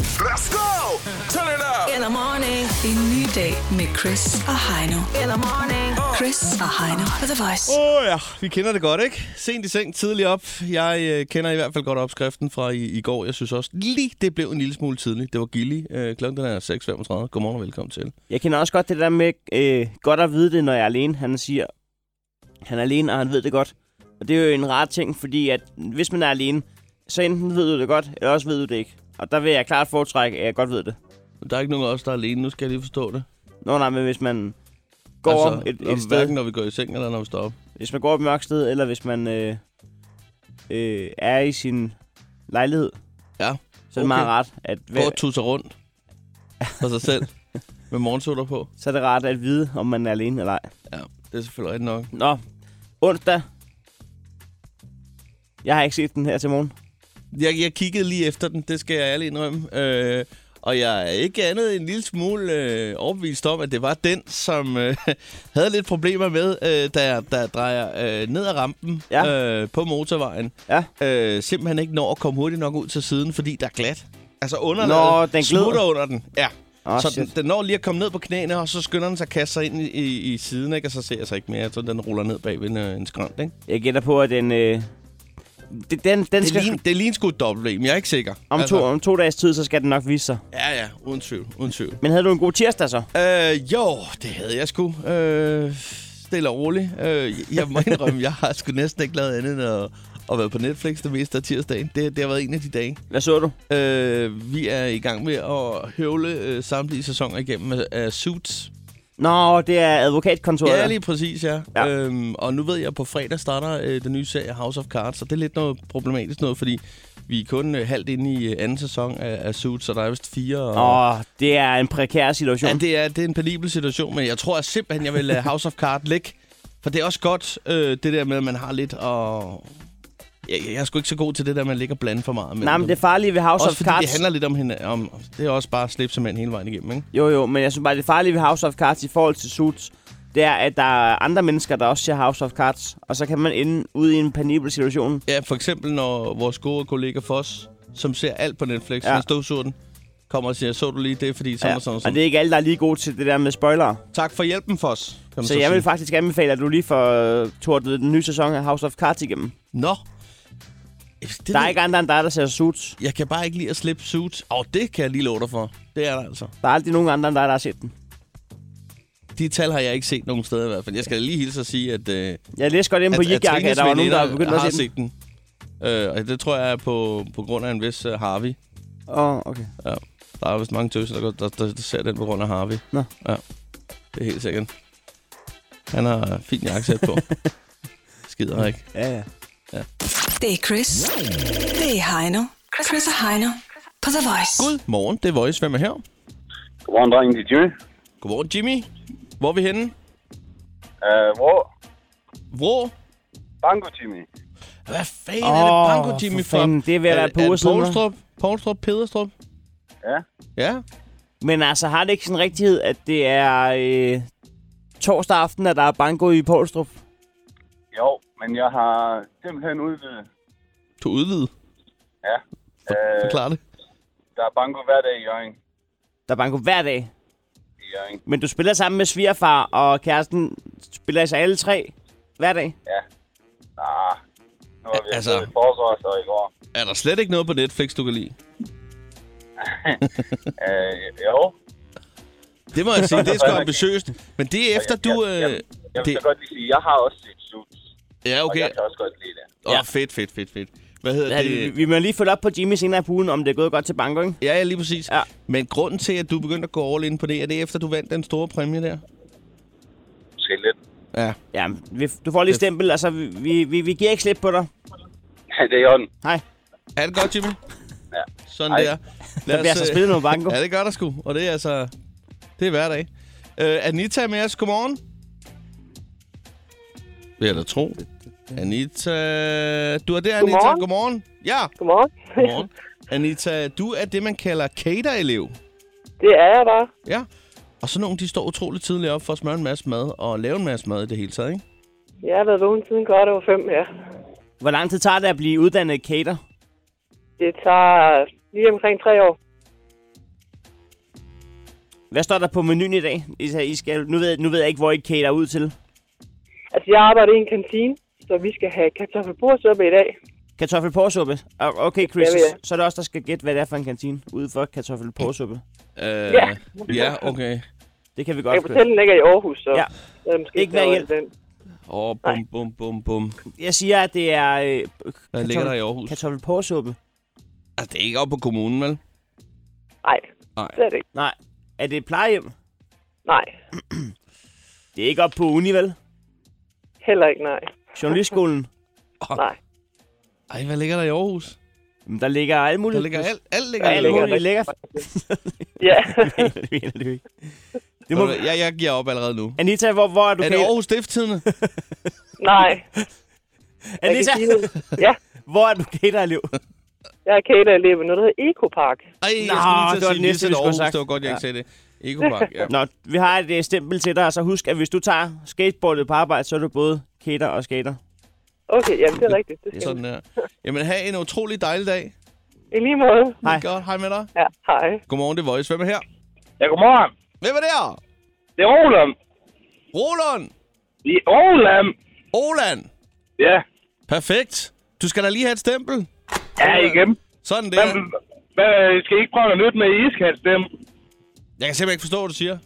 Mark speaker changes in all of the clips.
Speaker 1: Let's go! Turn it up!
Speaker 2: Eller morning. En ny dag med Chris og Heino. Eller morning. Chris og Heino på The Voice.
Speaker 3: Åh oh, ja, vi kender det godt, ikke? Sent i seng, tidligt op. Jeg øh, kender i hvert fald godt opskriften fra i, i går. Jeg synes også lige, det blev en lille smule tidligt. Det var Gilly. Øh, klokken den er 6.35. Godmorgen og velkommen til.
Speaker 4: Jeg kender også godt det der med, øh, godt at vide det, når jeg er alene. Han siger, han er alene, og han ved det godt. Og det er jo en rar ting, fordi at hvis man er alene, så enten ved du det godt, eller også ved du det ikke. Og der vil jeg klart foretrække, at jeg godt ved det.
Speaker 3: Der er ikke nogen af os, der er alene. Nu skal jeg lige forstå det.
Speaker 4: Nå nej, men hvis man går altså, et,
Speaker 3: om-
Speaker 4: et sted,
Speaker 3: Hverken når vi går i seng, eller når vi står op.
Speaker 4: hvis man går op et mørkt sted, eller hvis man øh, øh, er i sin lejlighed,
Speaker 3: Ja.
Speaker 4: så er det meget rart at,
Speaker 3: Går og tusser rundt for sig selv med morgensutter på.
Speaker 4: så er det rart at vide, om man er alene eller ej.
Speaker 3: Ja, det er selvfølgelig rigtigt nok.
Speaker 4: Nå, onsdag. Jeg har ikke set den her til morgen.
Speaker 3: Jeg, jeg kiggede lige efter den, det skal jeg ærligt indrømme. Øh, og jeg er ikke andet end en lille smule øh, overbevist om, at det var den, som øh, havde lidt problemer med, øh, da jeg da jeg drejer øh, ned ad rampen
Speaker 4: Ja.
Speaker 3: øh, på motorvejen.
Speaker 4: Ja.
Speaker 3: Øh, simpelthen ikke når at komme hurtigt nok ud til siden, fordi der er glat. Altså under
Speaker 4: Nå, den glider.
Speaker 3: smutter under den. Ja.
Speaker 4: Åh,
Speaker 3: så den,
Speaker 4: shit.
Speaker 3: den når lige at komme ned på knæene, og så skynder den sig at kaste sig ind i, i, i siden, ikke? og så ser jeg sig ikke mere. Jeg tror, den ruller ned bag ved en, øh, en skrønt. Ikke?
Speaker 4: Jeg gætter på, at den... Øh, det, den, den
Speaker 3: Det,
Speaker 4: skal,
Speaker 3: er lige, det er lige en skudt dobbelt, men jeg er ikke sikker. Altså,
Speaker 4: om, to, om to dages tid, så skal den nok vise sig.
Speaker 3: Ja, ja, uden tvivl, uden tvivl.
Speaker 4: Men havde du en god tirsdag så?
Speaker 3: Øh, jo, det havde jeg sgu. Øh, stille og roligt. Øh, jeg må indrømme, jeg har sgu næsten ikke lavet andet end at, at være på Netflix det meste af tirsdagen. Det, det har været en af de dage.
Speaker 4: Hvad så du?
Speaker 3: Øh, vi er i gang med at høvle øh, samtlige sæsoner igennem af- af Suits.
Speaker 4: Nå, det er advokatkontoret.
Speaker 3: Ja,
Speaker 4: der.
Speaker 3: lige præcis, ja. ja.
Speaker 4: Ja.
Speaker 3: Øhm, og nu ved jeg, at på fredag starter øh, den nye serie House of Cards, og det er lidt noget problematisk noget, fordi vi er kun øh, halvt inde i øh, anden sæson af, af Suits, så der er vist fire... Og,
Speaker 4: Åh, det er en prekær situation.
Speaker 3: Ja,
Speaker 4: Ja, det...
Speaker 3: det er, det er en penibel situation, men jeg tror at simpelthen, jeg vil lade House of Cards ligge. For det er også godt, øh, det der med, at man har lidt og Jeg, jeg er sgu ikke så god til det der, man ligger blandet for meget.
Speaker 4: Nej, men det farlige ved House
Speaker 3: også
Speaker 4: of
Speaker 3: fordi
Speaker 4: Cards...
Speaker 3: det handler lidt om hende. Om, det er også bare at slippe sig mand hele vejen igennem, ikke?
Speaker 4: Jo, jo, men jeg synes bare, det farlige ved House of Cards i forhold til Suits, det er, at der er andre mennesker, der også ser House of Cards, og så kan man ende ud i en penibel situation.
Speaker 3: Ja, for eksempel når vores gode kollega Foss, som ser alt på Netflix, ja.
Speaker 4: Ja.
Speaker 3: han støvsuger den, kommer og siger, så du lige det, fordi sådan ja. og sådan og
Speaker 4: og
Speaker 3: sådan.
Speaker 4: det er ikke alle, der er lige gode til det der med spoilere.
Speaker 3: Tak for hjælpen, Foss. Kan man
Speaker 4: Så jeg
Speaker 3: sige.
Speaker 4: vil faktisk anbefale, at du lige får øh, tordnet den nye sæson af House of Cards igennem.
Speaker 3: Nå. Det
Speaker 4: Der er ikke andre end dig, der ser Suits.
Speaker 3: Jeg kan bare ikke lide at slippe suits. Og det kan jeg lige love dig for. Det er der altså.
Speaker 4: Der er aldrig nogen andre end dig, der har set den.
Speaker 3: De tal har jeg ikke set nogen steder i hvert fald. Jeg skal lige hilse og sige, at, øh,
Speaker 4: Jeg læste godt ind på
Speaker 3: at, at
Speaker 4: Jigjakke, at der var nogen, der
Speaker 3: veninder
Speaker 4: begyndte
Speaker 3: har
Speaker 4: at se den.
Speaker 3: set den. Øh, og det tror jeg er på, på grund af en vis uh, Harvey.
Speaker 4: Åh, oh, okay.
Speaker 3: Ja. Der er vist mange tøser, der, går- der, der, der ser den på grund af Harvey.
Speaker 4: Nå.
Speaker 3: Ja. Det er helt sikkert. Han har fint jakkesæt på. Skider ikke.
Speaker 4: Ja, ja.
Speaker 2: Det er Chris. Det er Heino. Chris og Heino på The Voice.
Speaker 3: God morgen, det er Voice. Hvem er her?
Speaker 5: Godmorgen, drengen. Det er Jimmy.
Speaker 3: Godmorgen, Jimmy. Hvor er vi henne?
Speaker 5: Uh, hvor?
Speaker 3: Hvor?
Speaker 5: Bango, Jimmy.
Speaker 3: Hvad fanden oh, er det Banko
Speaker 4: Åh,
Speaker 3: Jimmy
Speaker 4: for fanden, det er ved at være et par
Speaker 3: er
Speaker 4: uger
Speaker 3: det
Speaker 4: siden, hva'?
Speaker 3: Poulstrup? Poulstrup? Pederstrup?
Speaker 5: Ja.
Speaker 3: Ja.
Speaker 4: Men altså, har det ikke sådan rigtighed, at det er øh, torsdag aften, at der er banko i Poulstrup?
Speaker 5: Jo, men jeg har simpelthen udvidet.
Speaker 3: Du udvide.
Speaker 5: Ja. Uh,
Speaker 3: Forklar det.
Speaker 5: der er banko hver dag i Jørgen.
Speaker 4: Der er banko hver dag.
Speaker 5: I Jørgen.
Speaker 4: Men du spiller sammen med svigerfar, og kæresten spiller sig alle tre hver dag.
Speaker 5: Ja. Nah. Nu har vi
Speaker 3: Altså-
Speaker 5: altså... et forsvar, så i går.
Speaker 3: Er der slet ikke noget på Netflix, du kan lide?
Speaker 5: Uh, jo.
Speaker 3: Det må jeg sige, det er sgu
Speaker 5: Frederik.
Speaker 3: ambitiøst. Men det er efter, du...
Speaker 5: Jeg, jeg,
Speaker 3: Øh,
Speaker 5: jeg vil
Speaker 3: det,
Speaker 5: så godt lige sige, jeg har også set Suits.
Speaker 3: ja,
Speaker 5: Og
Speaker 3: okay.
Speaker 5: jeg kan også godt lide det.
Speaker 3: Åh, oh, fedt, fedt, fedt, fedt. Hvad hedder
Speaker 4: Ja, vi,
Speaker 3: det?
Speaker 4: Altså, vi må lige følge op på Jimmy senere på ugen, om det er gået godt til banko, ikke?
Speaker 3: Ja, ja, lige præcis.
Speaker 4: Ja.
Speaker 3: Men grunden til, at du begyndte at gå all in på det, er det efter, du vandt den store præmie der?
Speaker 5: Måske lidt.
Speaker 3: Ja.
Speaker 4: Ja, vi, du får lige stempel, altså, vi, vi, vi, vi giver ikke slip på dig.
Speaker 5: det er i orden.
Speaker 4: Hej.
Speaker 3: Er det godt, Jimmy?
Speaker 5: Ja.
Speaker 3: Sådan
Speaker 5: Ej.
Speaker 3: der. Lad
Speaker 4: Der bliver altså
Speaker 3: øh,
Speaker 4: spillet noget banko.
Speaker 3: Ja, det gør der sgu. Og det er altså... Det er hver dag. Øh, Anita er med os. Godmorgen. Vil jeg da tro. Anita... Du er der, Anita.
Speaker 6: Godmorgen.
Speaker 3: Godmorgen. Ja.
Speaker 6: Godmorgen.
Speaker 3: Godmorgen. Anita, du er det, man kalder cater-elev.
Speaker 6: Det er jeg bare.
Speaker 3: Ja. Og sådan nogle, de står utroligt tidligt op for at smøre en masse mad og lave en masse mad i det hele taget, ikke?
Speaker 6: Jeg har været vågen siden godt over fem, ja.
Speaker 4: Hvor lang tid tager det at blive uddannet cater?
Speaker 6: Det tager lige omkring tre år.
Speaker 4: Hvad står der på menuen i dag? I sagde, I skal, nu, ved, nu ved jeg ikke, hvor I cater ud til.
Speaker 6: Altså, jeg arbejder i en kantine, så vi skal have kartoffelbordsuppe i dag.
Speaker 4: Kartoffelporsuppe. O- Ah, Okay, Chris,
Speaker 6: Ja, ja.
Speaker 4: så er det også der skal gætte, hvad det er for en kantine ude for kartoffelporsuppe.
Speaker 3: Øh,
Speaker 6: Ja.
Speaker 3: Ja, okay.
Speaker 4: Det kan vi
Speaker 6: Jeg
Speaker 4: godt
Speaker 6: kan fortælle, den ligger i Aarhus, så
Speaker 4: Ja.
Speaker 6: ja. det er måske
Speaker 4: Ikke mere
Speaker 6: noget
Speaker 4: hjælp.
Speaker 6: af den.
Speaker 3: Åh, oh, bum, bum, bum, bum.
Speaker 4: Jeg siger, at det er øh,
Speaker 3: Hvad ligger der i Aarhus?
Speaker 4: kartoffelporsuppe.
Speaker 3: Altså, det er ikke oppe på kommunen, vel?
Speaker 6: Nej,
Speaker 3: Nej.
Speaker 6: det er det ikke.
Speaker 4: Nej. Er det et plejehjem?
Speaker 6: Nej,
Speaker 4: Det er ikke op på uni, vel?
Speaker 6: heller ikke nej.
Speaker 4: Journalistskolen.
Speaker 6: Nej.
Speaker 3: Ej, hvad ligger der i Aarhus?
Speaker 4: Jamen, der ligger alt muligt.
Speaker 3: Der ligger alt, alt ligger
Speaker 4: Alt
Speaker 3: i
Speaker 4: ligger,
Speaker 3: Aarhus.
Speaker 4: der ligger.
Speaker 6: Ja,
Speaker 4: det mener du ikke. Det må...
Speaker 3: Jeg, jeg giver op allerede nu.
Speaker 4: Anita, hvor, hvor er du
Speaker 3: Er det
Speaker 4: kæ-
Speaker 3: Aarhus Stifttidende?
Speaker 6: nej. Jeg kan
Speaker 4: Anita,
Speaker 6: sige noget. Ja,
Speaker 4: hvor er du kæderelev?
Speaker 6: jeg er caterelev i noget, der hedder Ecopark.
Speaker 3: Ej, jeg
Speaker 4: Nå,
Speaker 3: skulle lige
Speaker 4: det
Speaker 3: til at sige
Speaker 4: var det næste,
Speaker 3: næste, til
Speaker 4: vi skulle have
Speaker 3: Aarhus.
Speaker 4: sagt.
Speaker 3: Det var godt, jeg ikke
Speaker 4: Ja.
Speaker 3: sagde det. Ekopark, ja.
Speaker 4: Nå, vi har et øh, stempel til dig, og så husk, at hvis du tager skateboardet på arbejde, så er du både kæder og skater.
Speaker 6: Okay, jamen det er rigtigt. Det skal
Speaker 3: Sådan
Speaker 6: vi.
Speaker 3: der. Jamen, have en utrolig dejlig dag.
Speaker 6: I lige måde.
Speaker 4: Hej.
Speaker 3: Godt, hej med dig.
Speaker 6: Ja, hej.
Speaker 3: Godmorgen, det er Voice. Hvem er her?
Speaker 5: Ja, godmorgen.
Speaker 3: Hvem er der?
Speaker 5: Det er Olam.
Speaker 3: Roland!
Speaker 5: Det er Olam.
Speaker 3: Roland!
Speaker 5: Ja.
Speaker 3: Perfekt. Du skal da lige have et stempel.
Speaker 5: Ja, igen.
Speaker 3: Sådan der.
Speaker 5: Hvad, hvad, skal I ikke prøve noget nyt med, at I skal have et stempel?
Speaker 3: Jeg kan simpelthen ikke forstå, hvad du siger.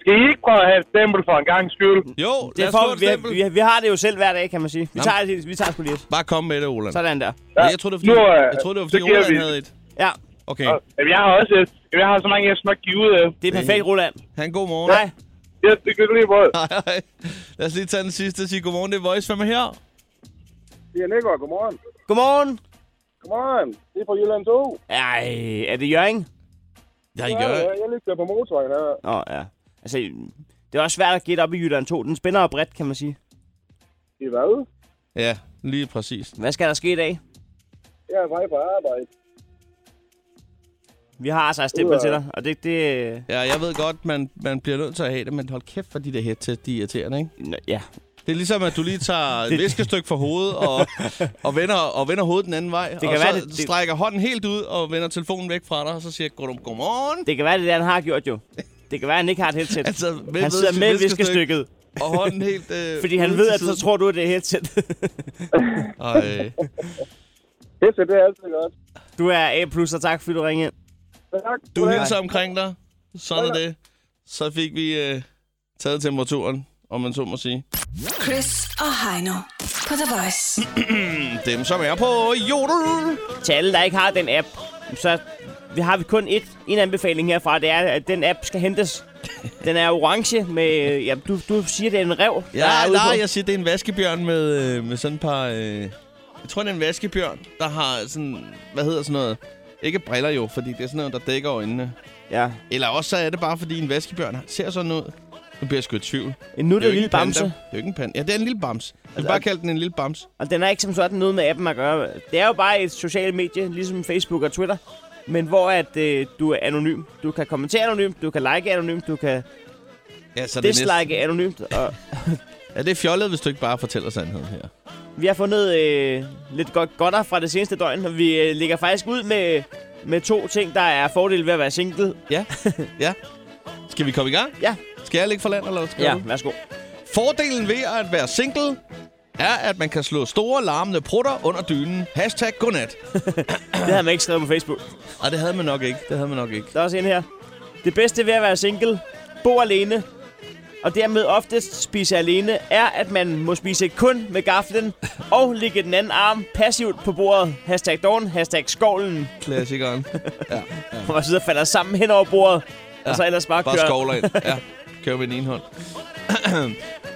Speaker 5: Skal I ikke prøve at have et stempel for en gang skyld?
Speaker 3: Jo, lad
Speaker 4: Det
Speaker 3: os få
Speaker 4: får,
Speaker 3: et
Speaker 4: vi,
Speaker 3: stempel.
Speaker 4: vi, vi, vi, har det jo selv hver dag, kan man sige. Vi
Speaker 3: Nå.
Speaker 4: tager, det- vi tager sgu lige et.
Speaker 3: Bare kom med det, Roland.
Speaker 4: Sådan der.
Speaker 3: Ja, jeg troede, det var
Speaker 5: nu,
Speaker 3: fordi,
Speaker 5: øh,
Speaker 3: jeg troede, det var,
Speaker 5: så
Speaker 3: fordi
Speaker 5: giver
Speaker 3: Roland
Speaker 5: vi-
Speaker 3: havde et.
Speaker 4: Ja,
Speaker 3: Okay.
Speaker 5: Jamen, jeg har også et. Jamen, jeg har så mange, jeg skal nok give ud af.
Speaker 4: det er perfekt, Roland.
Speaker 3: Han, god morgen.
Speaker 4: Hej.
Speaker 5: Ja, det kan du lige prøve.
Speaker 3: Hej, hej. Lad os lige tage den sidste og sige godmorgen. Det er Voice. Hvem er her?
Speaker 5: Det er Nikker. Godmorgen.
Speaker 4: Godmorgen.
Speaker 5: Godmorgen. Det er fra Jylland 2.
Speaker 4: Ej, er det Jørgen?
Speaker 3: Jeg gør.
Speaker 5: jeg ligger på motorvejen her.
Speaker 4: Nå, ja. Altså, det er også svært at gætte op i Jylland 2. Den spænder og bredt, kan man sige.
Speaker 5: Det er hvad?
Speaker 3: Ja, lige præcis.
Speaker 4: Hvad skal der ske i dag?
Speaker 5: Jeg er vej på arbejde.
Speaker 4: Vi har altså et stempel til dig, og det, øh, det...
Speaker 3: Ja, jeg ved godt, man, man bliver nødt til at have det, men hold kæft for de der headset, de er irriterende, ikke?
Speaker 4: Nå, Ja,
Speaker 3: Det er ligesom, at du lige tager et viskestykke fra hovedet og, og, vender, og vender hovedet den anden vej. Det og
Speaker 4: kan
Speaker 3: så
Speaker 4: være, det- det-
Speaker 3: strækker hånden helt ud og vender telefonen væk fra dig, og så siger jeg, "Goddag- godmorgen.
Speaker 4: det kan være, det er det, han har gjort jo. Det kan være, han ikke har et headset.
Speaker 3: Altså, med
Speaker 4: han sidder
Speaker 3: sit
Speaker 4: med
Speaker 3: viskestykke,
Speaker 4: viskestykket,
Speaker 3: Og hånden helt... Øh,
Speaker 4: fordi han
Speaker 3: ude
Speaker 4: ved,
Speaker 3: til
Speaker 4: at så
Speaker 3: siden.
Speaker 4: tror du, at det er et headset.
Speaker 3: Ej.
Speaker 5: Det er det er altid godt.
Speaker 4: Du er A+, og tak, fordi du ringede ind.
Speaker 5: Tak.
Speaker 3: Du hilser omkring dig. Sådan er det. Så fik vi øh, taget temperaturen, om man så må sige.
Speaker 2: Chris og Heino på The Voice.
Speaker 3: Dem, som er på jodel.
Speaker 4: Til alle, der ikke har den app, så vi har vi kun et, en anbefaling herfra. Det er, at den app skal hentes. Den er orange med... øh, Ja, du, du siger, det er en rev, der
Speaker 3: Ja,
Speaker 4: er ude
Speaker 3: nej,
Speaker 4: på.
Speaker 3: jeg siger, det er en vaskebjørn med, øh, med sådan et par... Øh, jeg tror, det er en vaskebjørn, der har sådan... Hvad hedder sådan noget? Ikke briller jo, fordi det er sådan noget, der dækker øjnene.
Speaker 4: Ja,
Speaker 3: Eller også så er det bare, fordi en vaskebjørn ser sådan ud. Nu bliver jeg sgu i tvivl.
Speaker 4: en nuttet
Speaker 3: jo ikke
Speaker 4: lille
Speaker 3: en panda.
Speaker 4: bamse.
Speaker 3: Det er jo ikke en panda. Ja, det er en lille bams. Jeg vil bare kalde den en lille bams.
Speaker 4: Og den har ikke som sådan noget med appen at gøre. Det er jo bare et socialt medie, ligesom Facebook og Twitter. Men hvor at øh, du er anonym. Du kan kommentere anonymt, du kan like anonymt, du kan
Speaker 3: Ja, så er det næste.
Speaker 4: dislike anonymt. Og
Speaker 3: Ja, det er fjollet, hvis du ikke bare fortæller sandheden her.
Speaker 4: vi har fundet øh, lidt godt godter fra det seneste døgn, og vi øh, ligger faktisk ud med, med to ting, der er fordele ved at være single.
Speaker 3: Ja, ja. Skal vi komme i gang?
Speaker 4: Ja,
Speaker 3: Skal jeg ligge for land, eller hvad skal
Speaker 4: ja,
Speaker 3: du?
Speaker 4: værsgo.
Speaker 3: Fordelen ved at være single er, at man kan slå store, larmende prutter under dynen. Hashtag godnat.
Speaker 4: Det havde man ikke skrevet på Facebook.
Speaker 3: Og det havde man nok ikke. Det havde man nok ikke.
Speaker 4: Der er også en her. Det bedste ved at være single, bo alene, og dermed oftest spise alene, er, at man må spise kun med gaflen og ligge den anden arm passivt på bordet. Hashtag dawn, hashtag skovlen,
Speaker 3: Klassikeren. Ja, ja.
Speaker 4: hvor man sidder og falder sammen hen over bordet, ja. og så ellers bare,
Speaker 3: Bare
Speaker 4: kører.
Speaker 3: skovler ind. Ja. Kører med den ene hånd.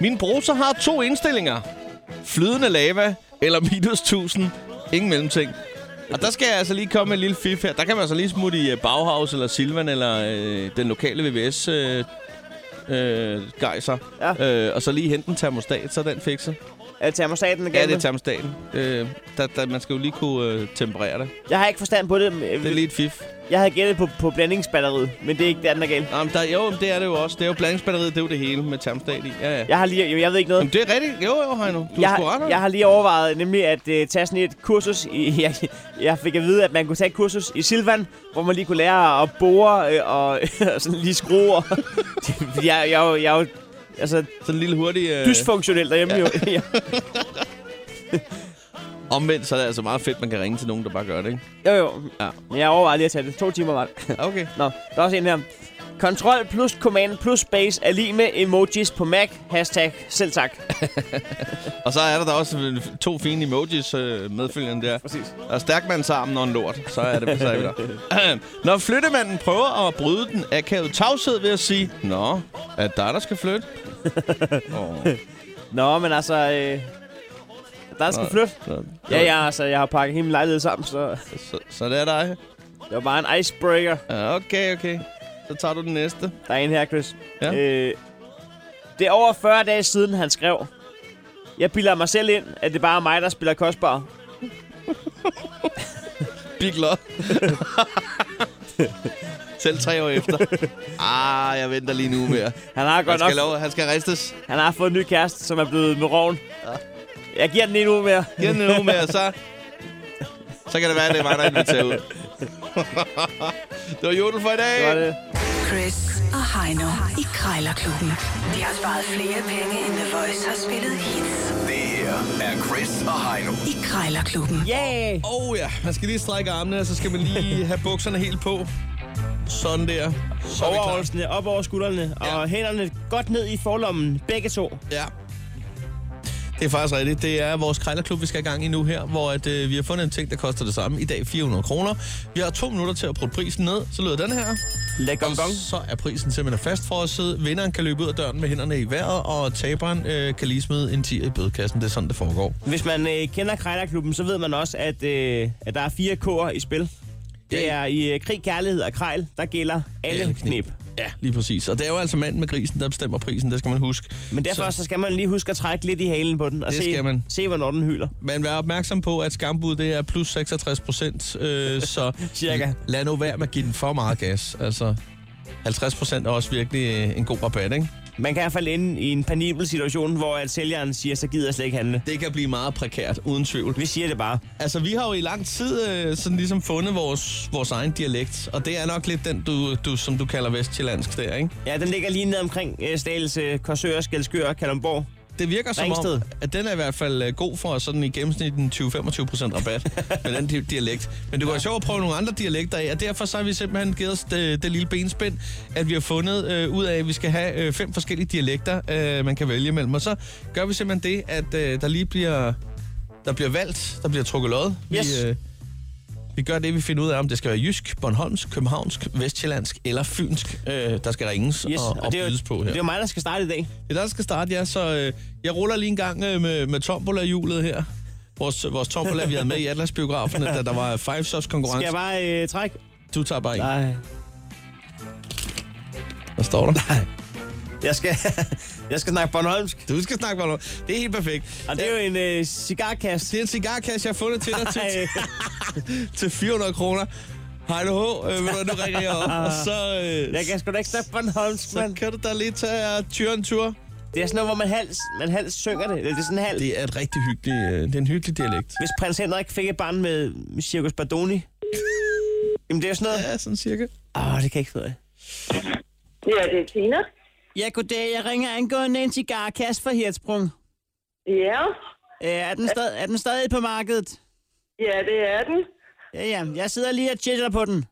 Speaker 3: Min bruser har to indstillinger. Flydende lava eller minus 1000. Ingen mellemting. Og der skal jeg altså lige komme med en lille fif her. Der kan man altså lige smutte i øh, Bauhaus eller Silvan eller øh, den lokale VVS øh, øh, gejser.
Speaker 4: Ja.
Speaker 3: Øh, og så lige hente en termostat, så er den fikset.
Speaker 4: Øh, termostaten igen.
Speaker 3: Ja, det er termostaten. Øh, der, der, man skal jo lige kunne øh, temperere det.
Speaker 4: Jeg har ikke forstand på det. men, øh,
Speaker 3: Det er lige et fif.
Speaker 4: Jeg havde gættet på, på blandingsbatteriet, men det er ikke der, den er galt.
Speaker 3: Nå, men der, jo, men det er det jo også. Det er jo blandingsbatteriet, det er jo det hele med termostat i. Ja, ja.
Speaker 4: Jeg har lige... Jo, jeg ved ikke noget.
Speaker 3: Jamen, det er rigtigt. Jo, jo, Heino. Du er
Speaker 4: jeg,
Speaker 3: sgu ret, Heino.
Speaker 4: jeg har lige overvejet nemlig at øh, tage sådan et kursus. I, jeg, jeg fik at vide, at man kunne tage et kursus i Silvan, hvor man lige kunne lære at bore øh, og, og sådan lige skrue. Og, jeg, jeg, er jo- jeg, er jo altså,
Speaker 3: Sådan en lille hurtig... Øh,
Speaker 4: dysfunktionel derhjemme ja. jo. Ja.
Speaker 3: omvendt, så er det altså meget fedt, man kan ringe til nogen, der bare gør det, ikke?
Speaker 4: Jo, jo. Ja. Men jeg overvejer lige at tage det. To timer var det.
Speaker 3: Okay.
Speaker 4: Nå, der er også en her. Control plus command plus space er lige med emojis på Mac. Hashtag selv tak.
Speaker 3: Og så er der da også øh, to fine emojis øh, medfølgende der.
Speaker 4: Præcis.
Speaker 3: Der er stærkmandsarmen og en lort. Så er det, så er vi der. Når flyttemanden prøver at bryde den akavet tavshed ved at sige, Nå, er det dig, der skal flytte? oh,
Speaker 4: Nå, men altså... Øh, der skal flytte. Ja, ja, altså, jeg har pakket hele min lejlighed sammen, så
Speaker 3: Så, så det er dig.
Speaker 4: det var bare en icebreaker.
Speaker 3: Ja, okay, okay. Så tager du den næste.
Speaker 4: Der er en her, Chris.
Speaker 3: Ja.
Speaker 4: Øh, det er over 40 dage siden, han skrev. Jeg bilder mig selv ind, at det bare er mig, der spiller kostbar.
Speaker 3: Big love. Selv tre år efter. Ah, jeg venter lige nu mere.
Speaker 4: Han har
Speaker 3: Han
Speaker 4: godt nok
Speaker 3: skal, lov, han skal ristes.
Speaker 4: han har fået en ny kæreste, som er blevet med roven. Jeg giver den en uge mere.
Speaker 3: Giv den en uge mere, så... Så kan det være, at det er mig, der inviterer ud. det var jodel for i dag.
Speaker 4: Det var det.
Speaker 2: Chris og Heino i Krejlerklubben. De har sparet flere penge, end The Voice har spillet hits
Speaker 1: Det her er Chris og Heino.
Speaker 2: i Krejlerklubben.
Speaker 4: Yeah!
Speaker 3: Åh oh, ja, man skal lige strække armene, og så skal man lige have bukserne helt på. Sådan der. Så er vi klar.
Speaker 4: Overholdsene op over skuldrene, og
Speaker 3: Ja.
Speaker 4: hænderne godt ned i forlommen. Begge to.
Speaker 3: Ja. Det er faktisk rigtigt. Det er vores krejlerklub, vi skal i gang i nu her, hvor at, øh, vi har fundet en ting, der koster det samme. I dag 400 kroner. Vi har to minutter til at putte prisen ned. Så lyder den her.
Speaker 4: Læg gong gong.
Speaker 3: Og så er prisen simpelthen fast for os sidde. Vinderen kan løbe ud af døren med hænderne i vejret, og taberen øh, kan lige smide en 10 i bødekassen. Det er sådan, det foregår.
Speaker 4: Hvis man øh, kender Krejlerklubben, så ved man også, at, øh, at der er fire K'er i spil. Det
Speaker 3: Ja.
Speaker 4: er i øh, krig, kærlighed og krejl, der gælder alle,
Speaker 3: Alle knep.
Speaker 4: knep.
Speaker 3: Ja, lige præcis. Og det er jo altså manden med grisen, der bestemmer prisen. Det skal man huske.
Speaker 4: Men derfor så. så skal man lige huske at trække lidt i halen på den, og
Speaker 3: Det
Speaker 4: se,
Speaker 3: skal man.
Speaker 4: se, hvornår den hyler.
Speaker 3: Men vær opmærksom på, at skambud det er plus 66 procent, øh, så
Speaker 4: Cirka.
Speaker 3: lad nu være med at give den for meget gas. Altså, 50 procent er også virkelig øh, en god rabat, ikke?
Speaker 4: Man kan i hvert fald ende i en panibel situation, hvor at sælgeren siger, så gider jeg slet ikke handle.
Speaker 3: Det kan blive meget prækært, uden tvivl.
Speaker 4: Vi siger det bare.
Speaker 3: Altså, vi har jo i lang tid øh, sådan ligesom fundet vores, vores egen dialekt, og det er nok lidt den, du, du, som du kalder vestjyllandsk der, ikke?
Speaker 4: Ja, den ligger lige ned omkring øh, Stagelse, Korsør, Skelskør, Kalundborg.
Speaker 3: Det virker som
Speaker 4: Ringsted.
Speaker 3: om, at den er i hvert fald øh, god for sådan i gennemsnit en 20-25 procent rabat med den di- dialekt. Men det kunne være sjovt at prøve nogle andre dialekter af, og derfor så har vi simpelthen givet os det, det lille benspænd, at vi har fundet øh, ud af, at vi skal have øh, fem forskellige dialekter, øh, man kan vælge imellem. Og så gør vi simpelthen det, at øh, der lige bliver, der bliver valgt, der bliver trukket lod.
Speaker 4: Yes.
Speaker 3: Vi, øh, vi gør det, vi finder ud af, om det skal være jysk, bornholmsk, københavnsk, vestjyllandsk eller fynsk. Øh, der skal ringes yes, og, og,
Speaker 4: det, er
Speaker 3: bydes på
Speaker 4: jo,
Speaker 3: her.
Speaker 4: det er jo mig, der skal starte i dag.
Speaker 3: Det er der, der skal starte, ja. Så øh, jeg ruller lige en gang øh, med, med tombola-hjulet her. Vores, vores tombola, vi havde med i Atlas-biografen, da der var Five Shots
Speaker 4: Skal
Speaker 3: konkurrence.
Speaker 4: jeg bare øh, trække?
Speaker 3: Du tager bare en.
Speaker 4: Nej.
Speaker 3: Hvad står der? Nej.
Speaker 4: Jeg skal, jeg skal snakke Bornholmsk.
Speaker 3: Du skal snakke bare noget. Det er helt perfekt.
Speaker 4: Og det er jo en øh, cigarkast.
Speaker 3: Det er en cigarkasse, jeg har fundet til dig til,
Speaker 4: Ej.
Speaker 3: til 400 kroner. Hej du, ho, øh, ved du, hvad, nu ringer jeg op, og så, øh,
Speaker 4: Ah. Jeg kan sgu da ikke snakke Bornholmsk,
Speaker 3: så
Speaker 4: mand.
Speaker 3: kan du da lige tage uh, tyren tur.
Speaker 4: Det er sådan noget, hvor man hals, man hals synger det. Eller det er sådan en hals.
Speaker 3: Det er et rigtig hyggeligt, øh, det er en hyggelig dialekt.
Speaker 4: Hvis prins Henrik fik et barn med Circus Bardoni. Jamen, det er jo sådan noget.
Speaker 3: Ja, sådan cirka.
Speaker 4: Åh, oh, det kan jeg ikke finde ud af.
Speaker 6: Ja, det er Tina.
Speaker 4: Ja, goddag. Jeg ringer angående en cigarkasse fra Hirtsprung.
Speaker 6: Ja,
Speaker 4: Øh, er, den stadig, er den stadig på markedet?
Speaker 6: ja, det er den.
Speaker 4: Ja, ja. Jeg sidder lige og chitter på den.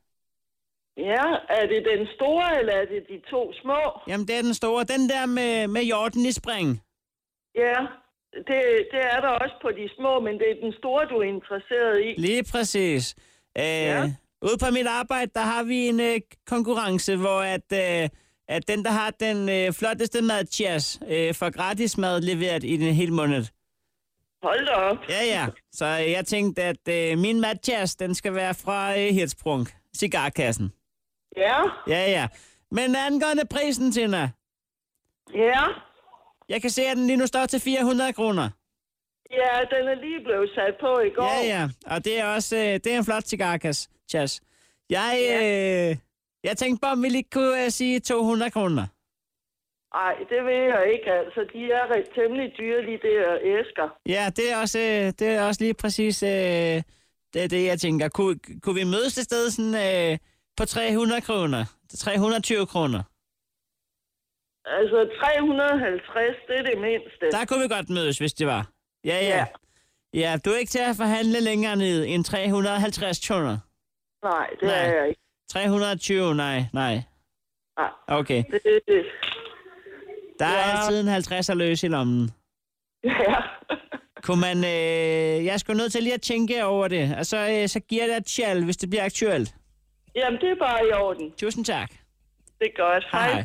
Speaker 6: Ja, er det den store, eller er det de to små?
Speaker 4: Jamen, det er den store. Den der med, med jorden i spring.
Speaker 6: Ja, det, det er der også på de små, men det er den store, du er interesseret i.
Speaker 4: Lige præcis. Øh, ja.
Speaker 6: Ja.
Speaker 4: Ude på mit arbejde, der har vi en øh, konkurrence, hvor at, øh, at den, der har den øh, flotteste mad, cheers, øh, får gratis mad leveret i den hele måned.
Speaker 6: Hold da op.
Speaker 4: Ja, ja. Så øh, jeg tænkte, at øh, min mad, cheers, den skal være fra øh, Hirtsprung, cigarkassen.
Speaker 6: Ja,
Speaker 4: Ja, ja. Men angående prisen, Tina,
Speaker 6: ja,
Speaker 4: jeg kan se, at den lige nu står til 400 kroner.
Speaker 6: Ja, den er lige blevet sat på i går.
Speaker 7: Ja, ja. Og det er også øh, det er en flot cigar, Kas. Chas. Jeg, øh, jeg tænkte bare, om vi lige kunne øh, sige 200 kroner.
Speaker 6: Ej, det ved jeg ikke, altså. De er ret temmelig dyre, de der æsker.
Speaker 7: Ja, det er også, øh, det er også lige præcis øh, det, er det, jeg tænker. Kunne, kunne vi mødes et sted sådan, øh, på 300 kroner? 320 kroner.
Speaker 6: Altså, 350, det er det mindste.
Speaker 7: Der kunne vi godt mødes, hvis det var. Ja, ja.
Speaker 6: Ja.
Speaker 7: Ja, du er ikke til at forhandle længere ned end 350 kroner.
Speaker 6: Nej, det
Speaker 7: Nej.
Speaker 6: Nej. er jeg ikke.
Speaker 7: 320, nej, nej.
Speaker 6: Nej.
Speaker 7: Okay,
Speaker 6: Det, det,
Speaker 7: der er
Speaker 6: Ja.
Speaker 7: altid en 50'er løs i lommen.
Speaker 6: ja.
Speaker 7: Kunne man, øh, jeg skulle nødt til lige at tænke over det, og så, øh, så giver jeg dig et tjal, hvis det bliver aktuelt.
Speaker 6: Jamen, det er bare i orden.
Speaker 7: Tusind tak.
Speaker 6: Det er godt. Hej. Hej.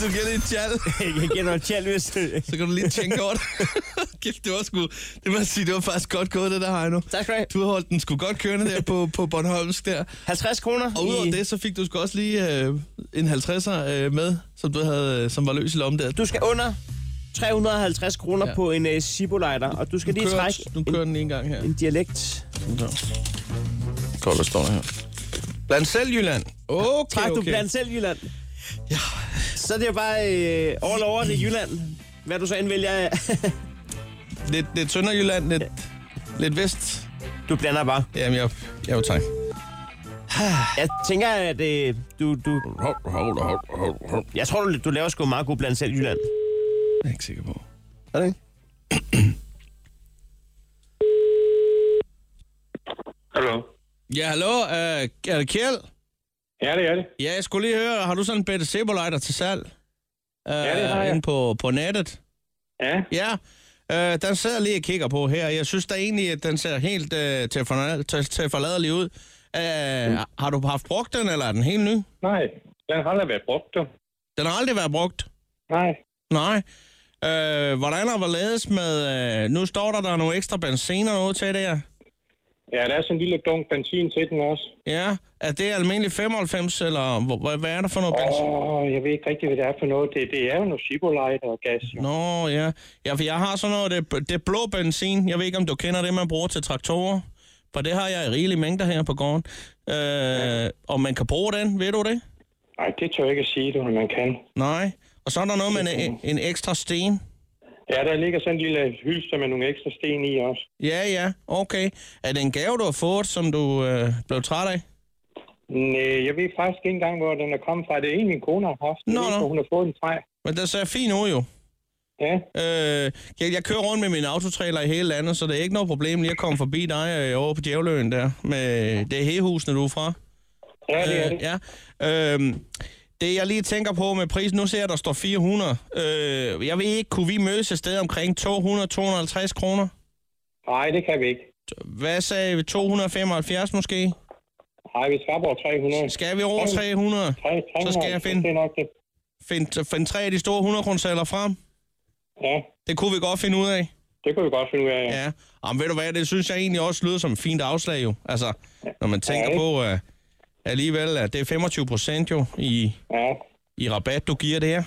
Speaker 3: Du giver lidt tjal,
Speaker 4: Jeg giver noget tjal, hvis
Speaker 3: så kan du lige tænke over det. Kæft, det var sgu... Det må jeg sige, det var faktisk godt gået, det der, Heino.
Speaker 4: Tak skal du have.
Speaker 3: Du har holdt den sgu godt kørende der på, på Bornholmsk der.
Speaker 4: 50 kroner
Speaker 3: Og udover
Speaker 4: i...
Speaker 3: det, så fik du sgu også lige øh, en 50'er øh, med, som du havde, øh, som var løs i lommen der. Du
Speaker 4: Du skal under 350 kroner
Speaker 3: Ja.
Speaker 4: ja. på en uh, Sibolighter, og du skal lige
Speaker 3: kører,
Speaker 4: trække
Speaker 3: nu
Speaker 4: en,
Speaker 3: kører den lige en gang her.
Speaker 4: en dialekt.
Speaker 3: Godt, hvad står der her? Blandt selv, Jylland. Okay,
Speaker 4: Træk
Speaker 3: okay.
Speaker 4: du blandt selv Jylland. Ja. Så er det jo bare uh, all over det Jylland. Hvad du så end vælger.
Speaker 3: Lidt, lidt Sønderjylland, lidt, lidt vest.
Speaker 4: du blander bare.
Speaker 3: Jamen, jeg, jeg jo tak.
Speaker 4: Jeg tænker, at uh, du, du... Jeg tror, du, du laver sgu meget god blandt selv Jylland.
Speaker 3: Jeg er ikke sikker på.
Speaker 4: Er det ikke?
Speaker 5: Hallo.
Speaker 3: Ja, hallo. Øh, er det Kjeld?
Speaker 5: Ja, det er det.
Speaker 3: Ja, jeg skulle lige høre, har du sådan en Bette Sebolejder til salg? Øh,
Speaker 5: Ja, det har jeg.
Speaker 3: Inde på, på nettet?
Speaker 5: Ja,
Speaker 3: Ja, øh, den sidder lige og kigger på her. Jeg synes da egentlig, at den ser helt øh, til, forna- til, til forladelig ud. Øh, Har du haft brugt den, eller er den helt ny?
Speaker 5: Mm. nej. Den har aldrig været brugt, du.
Speaker 3: Den har aldrig været brugt.
Speaker 5: Nej.
Speaker 3: Nej. Øh, hvordan har ledes med... Øh, nu står der, der er nogle ekstra benzin og noget til det her.
Speaker 5: Ja, der er sådan en lille dunk benzin til den også.
Speaker 3: Ja, er det almindelig 95, eller hvor- hvad, hvad er der for noget benzin?
Speaker 5: Åh, oh, jeg ved ikke rigtig, hvad det er for noget. Det, det er jo noget Cibolite og gas. jo.
Speaker 3: Nå, ja. ja. for jeg har sådan noget, det, det blå benzin. Jeg ved ikke, om du kender det, man bruger til traktorer. For det har jeg i rigelige mængder her på gården. Øh, ja. Og man kan bruge den, ved du det?
Speaker 5: Nej, det tør jeg ikke at sige, du, man kan.
Speaker 3: Nej. Og så er der noget med en, en- en ekstra sten.
Speaker 5: Ja, der ligger sådan en lille hylster med nogle ekstra sten i også.
Speaker 3: Ja, ja, okay. Er det en gave, du har fået, som du øh, blev træt af?
Speaker 5: Nej, øh, jeg ved faktisk ikke engang, hvor den er kommet fra. Det er en, min kone har haft. Jeg
Speaker 3: Nå,
Speaker 5: ved ikke,
Speaker 3: nå.
Speaker 5: hvor hun har fået den fra.
Speaker 3: Men det ser fint ud jo.
Speaker 5: Ja,
Speaker 3: Øh, jeg, jeg kører rundt med min autotrailer i hele landet, så det er ikke noget problem lige at komme forbi dig øh, over på Djævløen der. Med det hehusene, du er fra.
Speaker 5: ja det er
Speaker 3: Øh,
Speaker 5: det.
Speaker 3: ja. Øh, det jeg lige tænker på med prisen, nu ser jeg, der står 400. Øh, jeg ved ikke, kunne vi mødes et sted omkring 200-250 kroner?
Speaker 5: Nej, det kan vi ikke.
Speaker 3: Hvad sagde vi? 275 måske?
Speaker 5: Nej, vi skal op over 300.
Speaker 3: Skal vi over 300?
Speaker 5: Tre-
Speaker 3: Så
Speaker 5: 300,
Speaker 3: skal jeg finde-
Speaker 5: Det er nok det.
Speaker 3: Find, find tre af de store 100 kroner frem?
Speaker 5: Ja,
Speaker 3: Det kunne vi godt finde ud af.
Speaker 5: det kunne vi godt finde ud af. Ja.
Speaker 3: Ja, Jamen, ved du hvad, det synes jeg egentlig også lyder som et fint afslag jo. Altså, når man tænker
Speaker 5: Ja,
Speaker 3: på, uh, alligevel, at det er 25 procent jo i,
Speaker 5: ja.
Speaker 3: i rabat, du giver det her.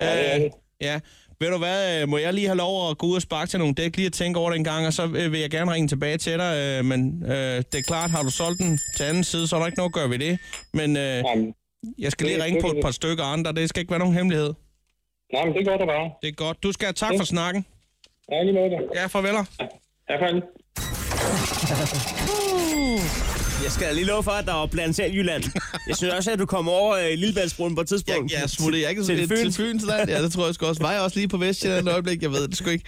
Speaker 5: Ja, det er det.
Speaker 3: Øh, ja, ved du hvad, øh, må jeg lige have lov at gå ud og sparke til nogle dæk, lige at tænke over det en gang, og så øh, vil jeg gerne ringe tilbage til dig, øh, men øh, det er klart, har du solgt den til anden side, så er der ikke noget at gøre ved det. Men øh,
Speaker 5: Jamen,
Speaker 3: jeg skal
Speaker 5: det
Speaker 3: lige
Speaker 5: er
Speaker 3: ringe på et
Speaker 5: selvfølgelig.
Speaker 3: par stykker andre, det skal ikke være nogen hemmelighed.
Speaker 5: nej, men det gør det bare.
Speaker 3: Det er godt. Du skal have tak for snakken.
Speaker 5: Ja, lige måde det.
Speaker 3: Ja, farveler.
Speaker 5: Ja, fanden.
Speaker 4: Jeg skal da lige love for, at der var blandt selv Jylland. Jeg synes også, at du kommer over øh, Lillebæltsbroen på et tidspunkt.
Speaker 3: Jeg, jeg smutter jeg ikke
Speaker 4: til, til, Fyn.
Speaker 3: til Fyns land. Ja, det tror jeg sgu også. Var jeg også lige på Vestjylland et øjeblik? Jeg ved det sgu ikke.